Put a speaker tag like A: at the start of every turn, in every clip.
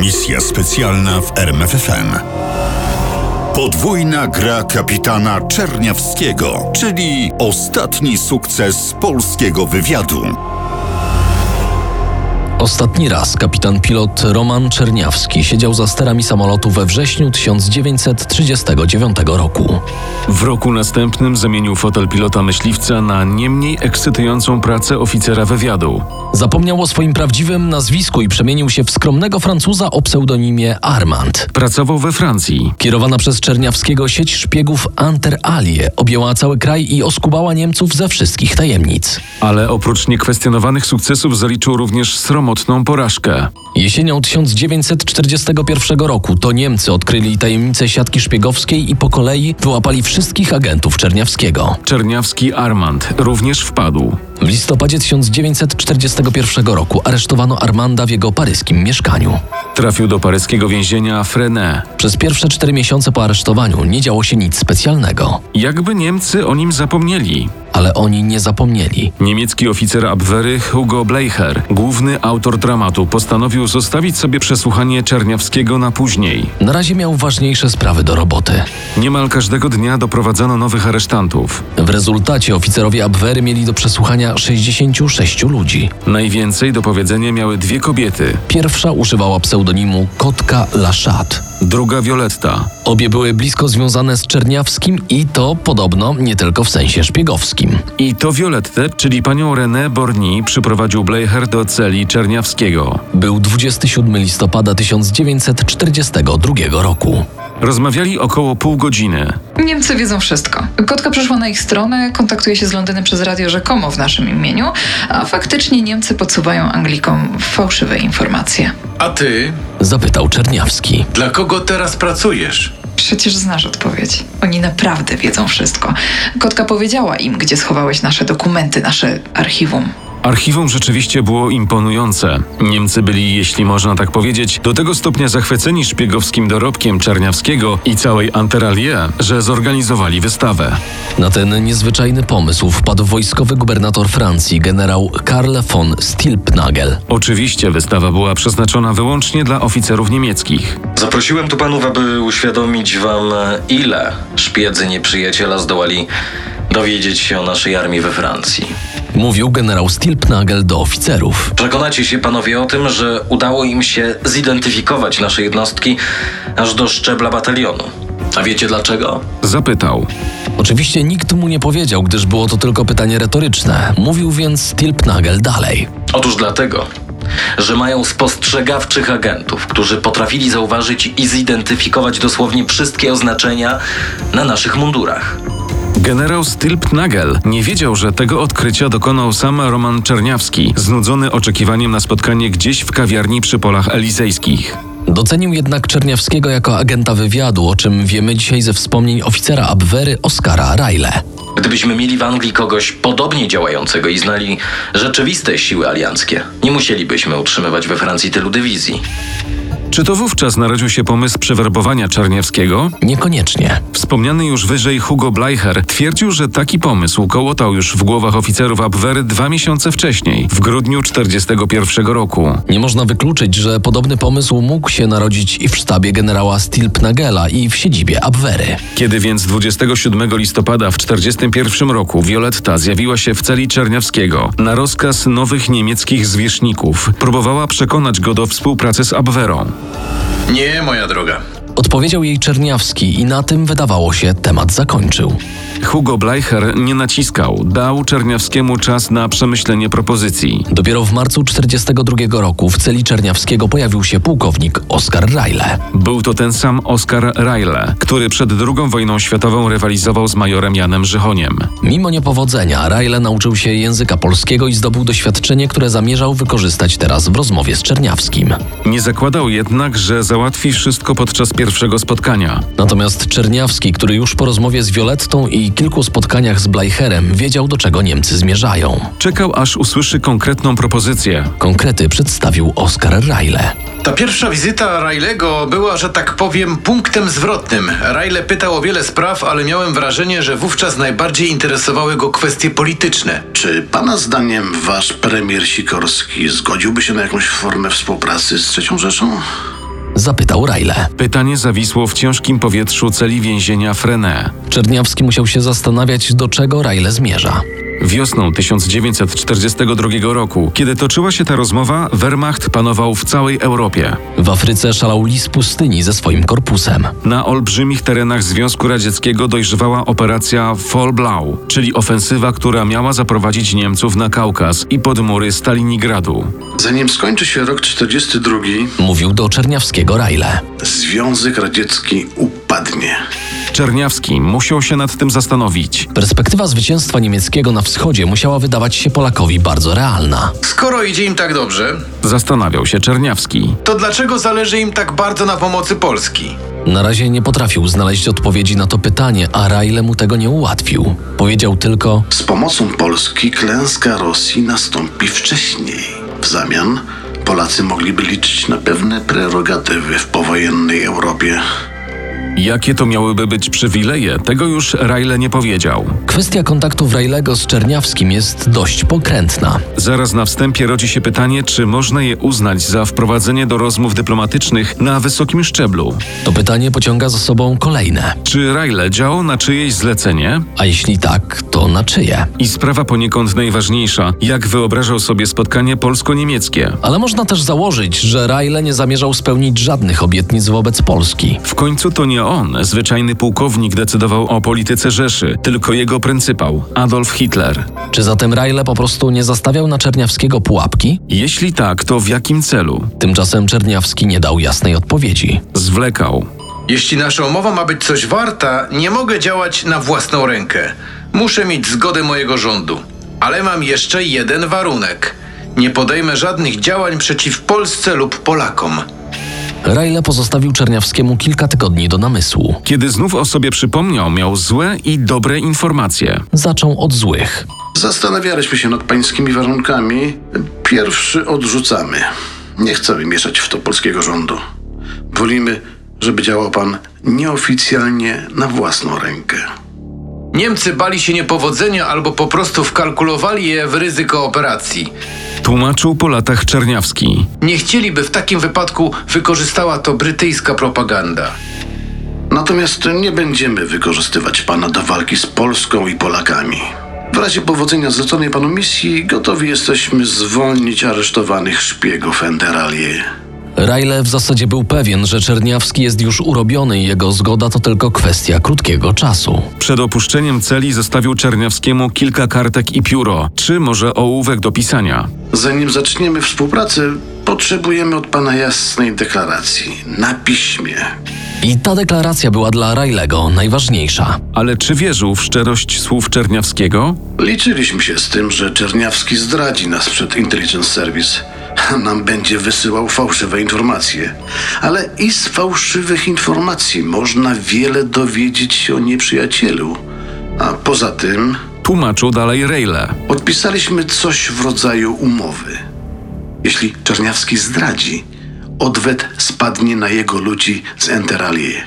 A: Misja specjalna w RMFFM. Podwójna gra kapitana Czerniawskiego, czyli ostatni sukces polskiego wywiadu.
B: Ostatni raz kapitan pilot Roman Czerniawski siedział za sterami samolotu we wrześniu 1939 roku.
C: W roku następnym zamienił fotel pilota myśliwca na nie mniej ekscytującą pracę oficera wywiadu.
B: Zapomniał o swoim prawdziwym nazwisku i przemienił się w skromnego Francuza o pseudonimie Armand.
C: Pracował we Francji.
B: Kierowana przez Czerniawskiego sieć szpiegów Anter Alie objęła cały kraj i oskubała Niemców ze wszystkich tajemnic.
C: Ale oprócz niekwestionowanych sukcesów zaliczył również sromotną porażkę.
B: Jesienią 1941 roku to Niemcy odkryli tajemnicę siatki szpiegowskiej i po kolei wyłapali wszystkich agentów Czerniawskiego.
C: Czerniawski Armand również wpadł.
B: W listopadzie 1941 roku aresztowano Armanda w jego paryskim mieszkaniu.
C: Trafił do paryskiego więzienia Frenet.
B: Przez pierwsze cztery miesiące po aresztowaniu nie działo się nic specjalnego,
C: Jakby Niemcy o nim zapomnieli.
B: ale oni nie zapomnieli.
C: Niemiecki oficer Abwehry Hugo Bleicher, główny autor dramatu, postanowił zostawić sobie przesłuchanie Czerniawskiego na później.
B: Na razie miał ważniejsze sprawy do roboty.
C: Niemal każdego dnia doprowadzano nowych aresztantów.
B: W rezultacie oficerowie Abwery mieli do przesłuchania 66 ludzi.
C: Najwięcej do powiedzenia miały dwie kobiety,
B: Pierwsza używała pseudonimu Kotka Laszat.
C: druga Violetta.
B: Obie były blisko związane z Czerniawskim i to podobno nie tylko w sensie szpiegowskim.
C: I to Violettę, czyli panią René Borny, przyprowadził Bleicher do celi Czerniawskiego.
B: Był 27 listopada 1942 roku.
C: Rozmawiali około pół godziny.
D: Niemcy wiedzą wszystko. Kotka przyszła na ich stronę, kontaktuje się z Londynem przez radio rzekomo w naszym imieniu, a faktycznie Niemcy podsuwają Anglikom fałszywe informacje.
E: A ty?
B: Zapytał Czerniawski.
E: Dla kogo teraz pracujesz?
D: Przecież znasz odpowiedź. Oni naprawdę wiedzą wszystko. Kotka powiedziała im, gdzie schowałeś nasze dokumenty, nasze archiwum.
C: Archiwum rzeczywiście było imponujące. Niemcy byli, jeśli można tak powiedzieć, do tego stopnia zachwyceni szpiegowskim dorobkiem Czerniawskiego i całej Anteralie, że zorganizowali wystawę.
B: Na ten niezwyczajny pomysł wpadł wojskowy gubernator Francji, generał Karl von Stilpnagel.
C: Oczywiście wystawa była przeznaczona wyłącznie dla oficerów niemieckich.
F: Zaprosiłem tu panów, aby uświadomić wam, ile szpiedzy nieprzyjaciela zdołali dowiedzieć się o naszej armii we Francji.
B: Mówił generał Stilpnagel do oficerów.
F: Przekonacie się panowie o tym, że udało im się zidentyfikować nasze jednostki aż do szczebla batalionu. A wiecie dlaczego?
C: Zapytał.
B: Oczywiście nikt mu nie powiedział, gdyż było to tylko pytanie retoryczne. Mówił więc Stilpnagel dalej.
F: Otóż dlatego, że mają spostrzegawczych agentów, którzy potrafili zauważyć i zidentyfikować dosłownie wszystkie oznaczenia na naszych mundurach.
C: Generał Stilpnagel nie wiedział, że tego odkrycia dokonał sam Roman Czerniawski, znudzony oczekiwaniem na spotkanie gdzieś w kawiarni przy Polach Elizejskich.
B: Docenił jednak Czerniawskiego jako agenta wywiadu, o czym wiemy dzisiaj ze wspomnień oficera Abwery Oskara Rajle.
F: Gdybyśmy mieli w Anglii kogoś podobnie działającego i znali rzeczywiste siły alianckie, nie musielibyśmy utrzymywać we Francji tylu dywizji.
C: Czy to wówczas narodził się pomysł przewerbowania Czerniawskiego?
B: Niekoniecznie.
C: Wspomniany już wyżej Hugo Bleicher twierdził, że taki pomysł kołotał już w głowach oficerów Abwehry dwa miesiące wcześniej, w grudniu 1941 roku.
B: Nie można wykluczyć, że podobny pomysł mógł się narodzić i w sztabie generała Stilpnagela i w siedzibie Abwery.
C: Kiedy więc 27 listopada w 1941 roku Violetta zjawiła się w celi Czerniawskiego na rozkaz nowych niemieckich zwierzchników, próbowała przekonać go do współpracy z Abwerą.
E: Nie, moja droga.
B: Odpowiedział jej Czerniawski i na tym wydawało się temat zakończył.
C: Hugo Bleicher nie naciskał, dał Czerniawskiemu czas na przemyślenie propozycji.
B: Dopiero w marcu 1942 roku w celi Czerniawskiego pojawił się pułkownik Oskar Rajle.
C: Był to ten sam Oskar Rajle, który przed II wojną światową rywalizował z majorem Janem Żychoniem.
B: Mimo niepowodzenia, Rajle nauczył się języka polskiego i zdobył doświadczenie, które zamierzał wykorzystać teraz w rozmowie z Czerniawskim.
C: Nie zakładał jednak, że załatwi wszystko podczas pierwszego spotkania.
B: Natomiast Czerniawski, który już po rozmowie z Violettą i kilku spotkaniach z Bleicherem wiedział, do czego Niemcy zmierzają.
C: Czekał aż usłyszy konkretną propozycję.
B: Konkrety przedstawił Oskar Rajle.
E: Ta pierwsza wizyta Rajlego była, że tak powiem, punktem zwrotnym. Rajle pytał o wiele spraw, ale miałem wrażenie, że wówczas najbardziej interesowały go kwestie polityczne.
G: Czy pana zdaniem wasz premier Sikorski zgodziłby się na jakąś formę współpracy z Trzecią Rzeszą?
B: Zapytał Rajle.
C: Pytanie zawisło w ciężkim powietrzu celi więzienia Frenet.
B: Czerniawski musiał się zastanawiać, do czego Rajle zmierza.
C: Wiosną 1942 roku, kiedy toczyła się ta rozmowa, Wehrmacht panował w całej Europie.
B: W Afryce szalał lis pustyni ze swoim korpusem.
C: Na olbrzymich terenach Związku Radzieckiego dojrzewała operacja Fallblau, czyli ofensywa, która miała zaprowadzić Niemców na Kaukaz i pod mury Stalinigradu.
G: Zanim skończy się rok 42,
B: Mówił do Czerniawskiego Rajle.
G: Związek Radziecki upadnie.
C: Czerniawski musiał się nad tym zastanowić.
B: Perspektywa zwycięstwa niemieckiego na wschodzie musiała wydawać się Polakowi bardzo realna.
E: Skoro idzie im tak dobrze,
C: Zastanawiał się Czerniawski.
E: to dlaczego zależy im tak bardzo na pomocy Polski?
B: Na razie nie potrafił znaleźć odpowiedzi na to pytanie, a Rajle mu tego nie ułatwił. Powiedział tylko:
G: Z pomocą Polski klęska Rosji nastąpi wcześniej. W zamian Polacy mogliby liczyć na pewne prerogatywy w powojennej Europie.
C: Jakie to miałyby być przywileje, tego już Rajle nie powiedział.
B: Kwestia kontaktów Rajlego z Czerniawskim jest dość pokrętna.
C: Zaraz na wstępie rodzi się pytanie, czy można je uznać za wprowadzenie do rozmów dyplomatycznych na wysokim szczeblu.
B: To pytanie pociąga za sobą kolejne.
C: Czy Rajle działał na czyjeś zlecenie?
B: A jeśli tak, to na czyje?
C: I sprawa poniekąd najważniejsza, jak wyobrażał sobie spotkanie polsko-niemieckie.
B: Ale można też założyć, że Rajle nie zamierzał spełnić żadnych obietnic wobec Polski.
C: W końcu to nie on, zwyczajny pułkownik, decydował o polityce Rzeszy, tylko jego pryncypał, Adolf Hitler.
B: Czy zatem Rajle po prostu nie zastawiał na Czerniawskiego pułapki?
C: Jeśli tak, to w jakim celu?
B: Tymczasem Czerniawski nie dał jasnej odpowiedzi.
C: Zwlekał.
E: Jeśli nasza umowa ma być coś warta, nie mogę działać na własną rękę. Muszę mieć zgodę mojego rządu. Ale mam jeszcze jeden warunek. Nie podejmę żadnych działań przeciw Polsce lub Polakom.
B: Rajle pozostawił Czerniawskiemu kilka tygodni do namysłu.
C: Kiedy znów o sobie przypomniał, miał złe i dobre informacje.
B: Zaczął od złych.
G: Zastanawialiśmy się nad pańskimi warunkami. Pierwszy odrzucamy. Nie chcemy mieszać w to polskiego rządu. Wolimy, żeby działał pan nieoficjalnie na własną rękę.
E: Niemcy bali się niepowodzenia albo po prostu wkalkulowali je w ryzyko operacji.
C: Tłumaczył po latach Czerniawski.
E: Nie chcieliby w takim wypadku wykorzystała to brytyjska propaganda.
G: Natomiast nie będziemy wykorzystywać pana do walki z Polską i Polakami. W razie powodzenia zleconej panu misji gotowi jesteśmy zwolnić aresztowanych szpiegów Enderalie.
B: Rajle w zasadzie był pewien, że Czerniawski jest już urobiony i jego zgoda to tylko kwestia krótkiego czasu.
C: Przed opuszczeniem celi zostawił Czerniawskiemu kilka kartek i pióro, czy może ołówek do pisania.
G: Zanim zaczniemy współpracę, potrzebujemy od pana jasnej deklaracji na piśmie.
B: I ta deklaracja była dla Rajlego najważniejsza.
C: Ale czy wierzył w szczerość słów Czerniawskiego?
G: Liczyliśmy się z tym, że Czerniawski zdradzi nas przed Intelligence Service. a Nam będzie wysyłał fałszywe informacje. Ale i z fałszywych informacji można wiele dowiedzieć się o nieprzyjacielu. A poza tym
C: Tłumaczył dalej Rejle.
G: podpisaliśmy coś w rodzaju umowy. Jeśli Czerniawski zdradzi, odwet spadnie na jego ludzi z Enteralie.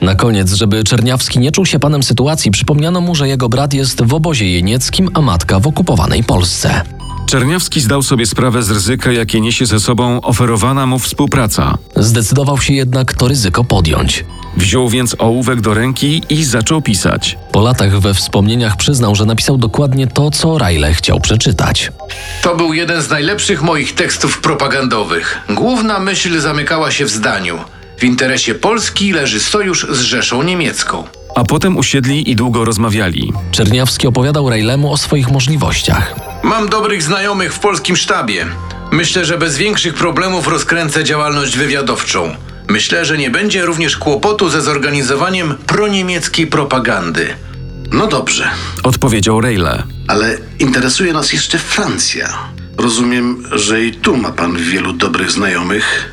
B: Na koniec, żeby Czerniawski nie czuł się panem sytuacji, przypomniano mu, że jego brat jest w obozie jenieckim, a matka w okupowanej Polsce.
C: Czerniawski zdał sobie sprawę z ryzyka, jakie niesie ze sobą oferowana mu współpraca.
B: Zdecydował się jednak to ryzyko podjąć.
C: Wziął więc ołówek do ręki i zaczął pisać.
B: Po latach we wspomnieniach przyznał, że napisał dokładnie to, co Rajle chciał przeczytać.
E: To był jeden z najlepszych moich tekstów propagandowych. Główna myśl zamykała się w zdaniu. W interesie Polski leży sojusz z Rzeszą Niemiecką.
C: A potem usiedli i długo rozmawiali.
B: Czerniawski opowiadał Rajlemu o swoich możliwościach.
E: Mam dobrych znajomych w polskim sztabie. Myślę, że bez większych problemów rozkręcę działalność wywiadowczą. Myślę, że nie będzie również kłopotu ze zorganizowaniem proniemieckiej propagandy.
G: No dobrze,
C: Odpowiedział Rejle.
G: Ale interesuje nas jeszcze Francja. Rozumiem, że i tu ma pan wielu dobrych znajomych.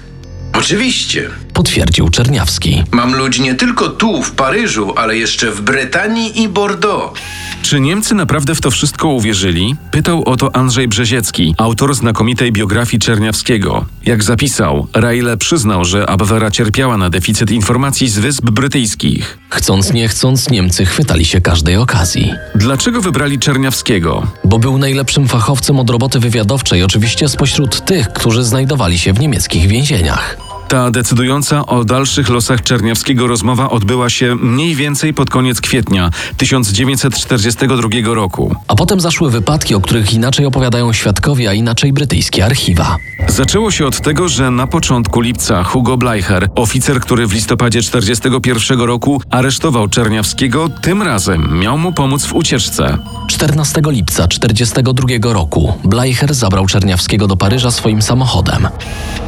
E: Oczywiście,
B: Potwierdził Czerniawski.
E: mam ludzi nie tylko tu, w Paryżu, ale jeszcze w Brytanii i Bordeaux.
C: Czy Niemcy naprawdę w to wszystko uwierzyli? Pytał o to Andrzej Brzeziecki, autor znakomitej biografii Czerniawskiego. Jak zapisał, Rejle przyznał, że Abwera cierpiała na deficyt informacji z Wysp Brytyjskich.
B: Chcąc nie chcąc, Niemcy chwytali się każdej okazji.
C: Dlaczego wybrali Czerniawskiego?
B: Bo był najlepszym fachowcem od roboty wywiadowczej, oczywiście spośród tych, którzy znajdowali się w niemieckich więzieniach.
C: Ta decydująca o dalszych losach Czerniawskiego rozmowa odbyła się mniej więcej pod koniec kwietnia 1942 roku.
B: A potem zaszły wypadki, o których inaczej opowiadają świadkowie, a inaczej brytyjskie archiwa.
C: Zaczęło się od tego, że na początku lipca Hugo Bleicher, oficer, który w listopadzie 1941 roku aresztował Czerniawskiego, tym razem miał mu pomóc w ucieczce.
B: 14 lipca 1942 roku Bleicher zabrał Czerniawskiego do Paryża swoim samochodem.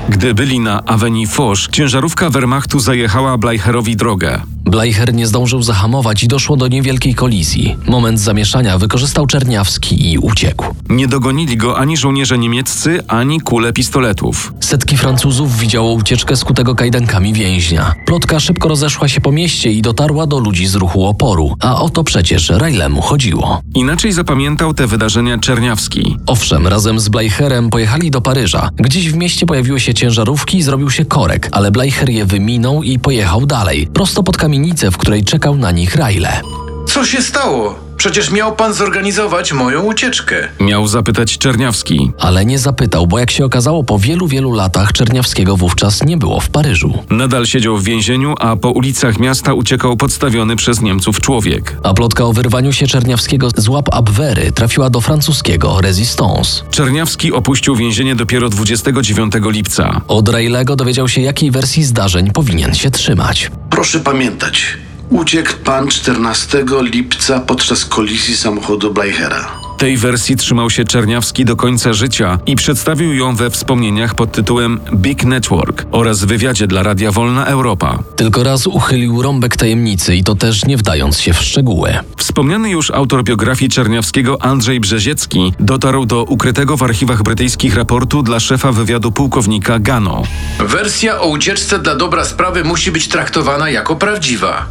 C: Gdy byli na Avenue Foch, ciężarówka Wehrmachtu zajechała Bleicherowi drogę.
B: Bleicher nie zdążył zahamować i doszło do niewielkiej kolizji. Moment zamieszania wykorzystał Czerniawski i uciekł.
C: Nie dogonili go ani żołnierze niemieccy, ani kule pistoletów.
B: Setki Francuzów widziało ucieczkę skutego kajdankami więźnia. Plotka szybko rozeszła się po mieście i dotarła do ludzi z ruchu oporu, a o to przecież Rajlemu chodziło.
C: Inaczej zapamiętał te wydarzenia Czerniawski.
B: Owszem, razem z Bleicherem pojechali do Paryża. Gdzieś w mieście pojawiły się ciężarówki i zrobił się korek, ale Bleicher je wyminął i pojechał dalej, prosto pod kamienicę, w której czekał na nich Rajle.
E: Co się stało? Przecież miał pan zorganizować moją ucieczkę.
C: Miał zapytać Czerniawski.
B: Ale nie zapytał, bo jak się okazało, po wielu, wielu latach Czerniawskiego wówczas nie było w Paryżu.
C: Nadal siedział w więzieniu, a po ulicach miasta uciekał podstawiony przez Niemców człowiek.
B: A plotka o wyrwaniu się Czerniawskiego z łap Abwery trafiła do francuskiego Resistance.
C: Czerniawski opuścił więzienie dopiero 29 lipca.
B: Od Rejlego dowiedział się, jakiej wersji zdarzeń powinien się trzymać.
G: Proszę pamiętać, uciekł pan 14 lipca podczas kolizji samochodu Bleichera.
C: Tej wersji trzymał się Czerniawski do końca życia i przedstawił ją we wspomnieniach pod tytułem Big Network oraz wywiadzie dla Radia Wolna Europa.
B: Tylko raz uchylił rąbek tajemnicy i to też nie wdając się w szczegóły.
C: Wspomniany już autor biografii Czerniawskiego Andrzej Brzeziecki dotarł do ukrytego w archiwach brytyjskich raportu dla szefa wywiadu pułkownika Gano.
E: Wersja o ucieczce dla dobra sprawy musi być traktowana jako prawdziwa.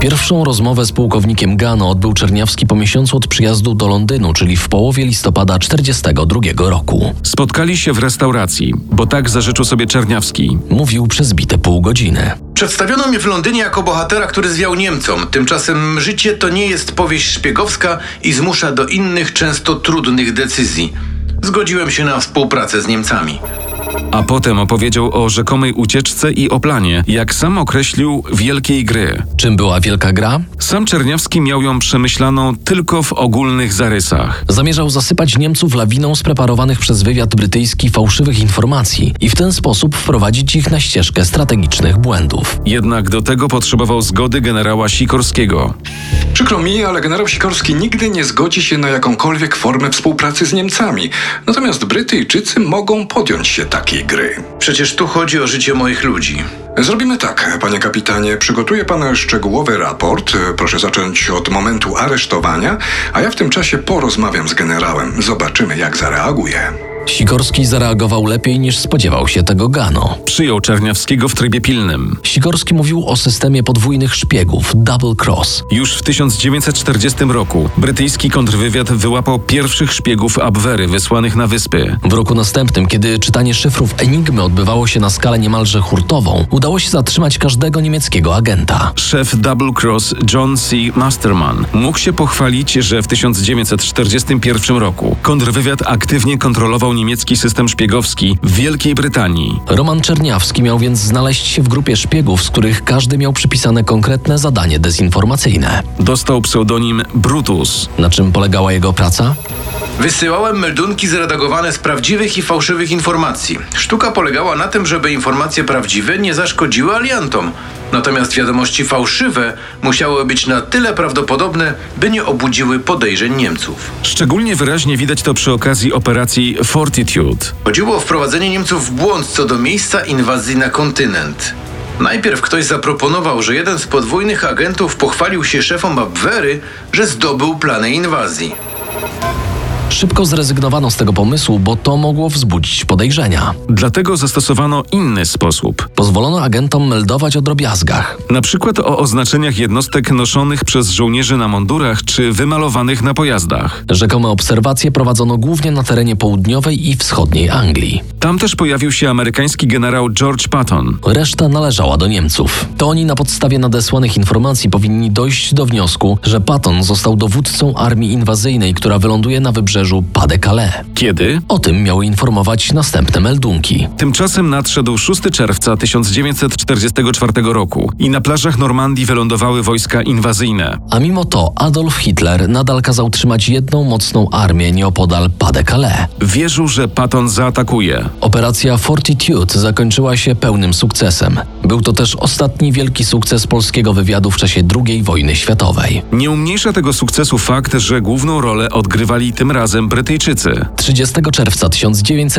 B: Pierwszą rozmowę z pułkownikiem Gano odbył Czerniawski po miesiącu od przyjazdu do Londynu, czyli w połowie listopada 1942 roku.
C: Spotkali się w restauracji, bo tak zażyczył sobie Czerniawski.
B: Mówił przez bite pół godziny.
E: Przedstawiono mnie w Londynie jako bohatera, który zwiał Niemcom. Tymczasem życie to nie jest powieść szpiegowska i zmusza do innych, często trudnych decyzji. Zgodziłem się na współpracę z Niemcami.
C: A potem opowiedział o rzekomej ucieczce i o planie, jak sam określił, wielkiej gry.
B: Czym była wielka gra?
C: Sam Czerniawski miał ją przemyślaną tylko w ogólnych zarysach.
B: Zamierzał zasypać Niemców lawiną spreparowanych przez wywiad brytyjski fałszywych informacji i w ten sposób wprowadzić ich na ścieżkę strategicznych błędów.
C: Jednak do tego potrzebował zgody generała Sikorskiego.
H: Przykro mi, ale generał Sikorski nigdy nie zgodzi się na jakąkolwiek formę współpracy z Niemcami. Natomiast Brytyjczycy mogą podjąć się takiej gry.
E: Przecież tu chodzi o życie moich ludzi.
H: Zrobimy tak, panie kapitanie. Przygotuje pan szczegółowy raport. Proszę zacząć od momentu aresztowania, a ja w tym czasie porozmawiam z generałem. Zobaczymy, jak zareaguje.
B: Sikorski zareagował lepiej niż spodziewał się tego Gano.
C: Przyjął Czerniawskiego w trybie pilnym.
B: Sikorski mówił o systemie podwójnych szpiegów Double Cross.
C: Już w 1940 roku brytyjski kontrwywiad wyłapał pierwszych szpiegów Abwery wysłanych na wyspy.
B: W roku następnym, kiedy czytanie szyfrów Enigmy odbywało się na skalę niemalże hurtową, udało się zatrzymać każdego niemieckiego agenta.
C: Szef Double Cross John C. Masterman mógł się pochwalić, że w 1941 roku kontrwywiad aktywnie kontrolował niemiecki system szpiegowski w Wielkiej Brytanii.
B: Roman Czerniawski miał więc znaleźć się w grupie szpiegów, z których każdy miał przypisane konkretne zadanie dezinformacyjne.
C: Dostał pseudonim Brutus.
B: Na czym polegała jego praca?
E: Wysyłałem meldunki zredagowane z prawdziwych i fałszywych informacji. Sztuka polegała na tym, żeby informacje prawdziwe nie zaszkodziły aliantom. Natomiast wiadomości fałszywe musiały być na tyle prawdopodobne, by nie obudziły podejrzeń Niemców.
C: Szczególnie wyraźnie widać to przy okazji operacji Fortitude.
E: Chodziło o wprowadzenie Niemców w błąd co do miejsca inwazji na kontynent. Najpierw ktoś zaproponował, że jeden z podwójnych agentów pochwalił się szefom Abwehry, że zdobył plany inwazji.
B: Szybko zrezygnowano z tego pomysłu, bo to mogło wzbudzić podejrzenia.
C: Dlatego zastosowano inny sposób,
B: Pozwolono agentom meldować o drobiazgach.
C: na przykład o oznaczeniach jednostek noszonych przez żołnierzy na mundurach czy wymalowanych na pojazdach.
B: Rzekome obserwacje prowadzono głównie na terenie południowej i wschodniej Anglii.
C: Tam też pojawił się amerykański generał George Patton.
B: Reszta należała do Niemców. To oni na podstawie nadesłanych informacji powinni dojść do wniosku, że Patton został dowódcą armii inwazyjnej, która wyląduje na wybrzeżu wybrzeżu Pas-de-Calais.
C: Kiedy?
B: O tym miały informować następne meldunki.
C: Tymczasem nadszedł 6 czerwca 1944 roku i na plażach Normandii wylądowały wojska inwazyjne.
B: A mimo to Adolf Hitler nadal kazał trzymać jedną mocną armię nieopodal Pas-de-Calais.
C: Wierzył, że Patton zaatakuje.
B: Operacja Fortitude zakończyła się pełnym sukcesem. Był to też ostatni wielki sukces polskiego wywiadu w czasie II wojny światowej.
C: Nie umniejsza tego sukcesu fakt, że główną rolę odgrywali tym razem Brytyjczycy.
B: 30 czerwca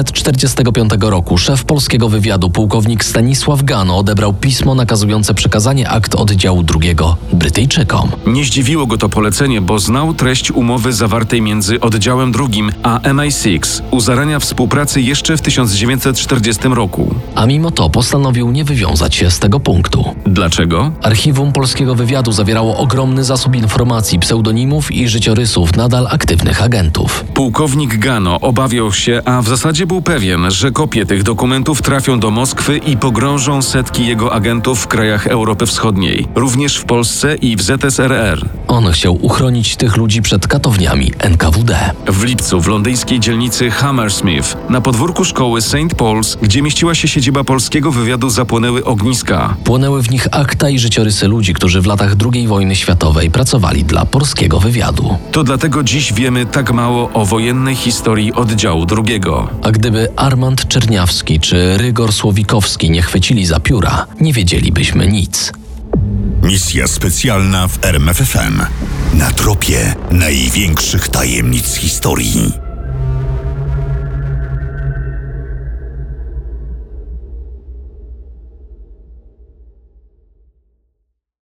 B: 1945 roku szef polskiego wywiadu pułkownik Stanisław Gano odebrał pismo nakazujące przekazanie akt oddziału II Brytyjczykom.
C: Nie zdziwiło go to polecenie, bo znał treść umowy zawartej między oddziałem drugim a MI6 u zarania współpracy jeszcze w 1940 roku.
B: A mimo to postanowił nie wywiązać się z tego punktu.
C: Dlaczego?
B: Archiwum polskiego wywiadu zawierało ogromny zasób informacji, pseudonimów i życiorysów nadal aktywnych agentów.
C: Pułkownik Gano obawiał się, a w zasadzie był pewien, że kopie tych dokumentów trafią do Moskwy i pogrążą setki jego agentów w krajach Europy Wschodniej, również w Polsce i w ZSRR.
B: On chciał uchronić tych ludzi przed katowniami NKWD.
C: W lipcu w londyńskiej dzielnicy Hammersmith, na podwórku szkoły St. Paul's, gdzie mieściła się siedziba polskiego wywiadu, zapłonęły ogniska.
B: Płonęły w nich akta i życiorysy ludzi, którzy w latach II wojny światowej pracowali dla polskiego wywiadu.
C: To dlatego dziś wiemy tak mało o wojennej historii oddziału drugiego.
B: A gdyby Armand Czerniawski czy Rygor Słowikowski nie chwycili za pióra, nie wiedzielibyśmy nic.
A: Misja specjalna w RMFFM. Na tropie największych tajemnic historii.